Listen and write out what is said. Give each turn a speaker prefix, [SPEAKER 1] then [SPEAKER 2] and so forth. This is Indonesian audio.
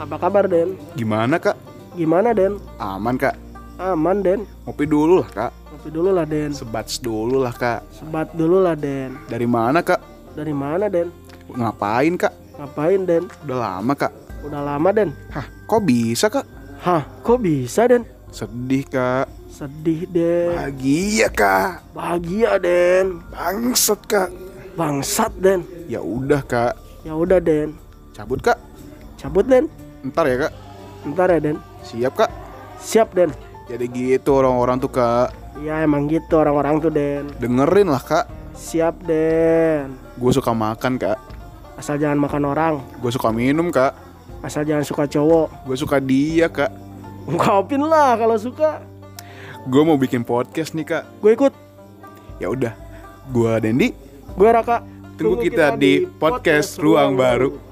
[SPEAKER 1] Apa kabar, Den?
[SPEAKER 2] Gimana kak?
[SPEAKER 1] Gimana, Den?
[SPEAKER 2] Aman kak?
[SPEAKER 1] Aman, Den.
[SPEAKER 2] Ngopi dulu lah kak.
[SPEAKER 1] Kopi dulu lah, Den.
[SPEAKER 2] Sebats dulu lah kak.
[SPEAKER 1] Sebat dulu lah, Den.
[SPEAKER 2] Dari mana kak?
[SPEAKER 1] Dari mana, Den?
[SPEAKER 2] Ngapain kak?
[SPEAKER 1] Ngapain, Den?
[SPEAKER 2] Udah lama kak.
[SPEAKER 1] Udah lama, Den.
[SPEAKER 2] Hah, kok bisa kak?
[SPEAKER 1] Hah, kok bisa, Den?
[SPEAKER 2] Sedih kak.
[SPEAKER 1] Sedih, Den.
[SPEAKER 2] Bahagia kak.
[SPEAKER 1] Bahagia, Den.
[SPEAKER 2] Bangsat kak.
[SPEAKER 1] Bangsat, Den.
[SPEAKER 2] Ya udah kak.
[SPEAKER 1] Ya udah, Den.
[SPEAKER 2] Cabut kak.
[SPEAKER 1] Cabut, Den.
[SPEAKER 2] Ntar ya kak.
[SPEAKER 1] Ntar ya, Den.
[SPEAKER 2] Siap kak.
[SPEAKER 1] Siap, Den.
[SPEAKER 2] Jadi gitu orang-orang tuh kak.
[SPEAKER 1] Ya emang gitu orang-orang tuh, Den.
[SPEAKER 2] Dengerin lah kak.
[SPEAKER 1] Siap, Den.
[SPEAKER 2] Gue suka makan kak.
[SPEAKER 1] Asal jangan makan orang,
[SPEAKER 2] Gue suka minum kak.
[SPEAKER 1] asal jangan suka cowok.
[SPEAKER 2] Gue suka dia kak.
[SPEAKER 1] Ungkapin lah kalau suka.
[SPEAKER 2] Gue mau bikin podcast nih kak.
[SPEAKER 1] Gue ikut.
[SPEAKER 2] Ya udah. Gue Dendi.
[SPEAKER 1] Gue Raka.
[SPEAKER 2] Tunggu kita di podcast Ruang Baru.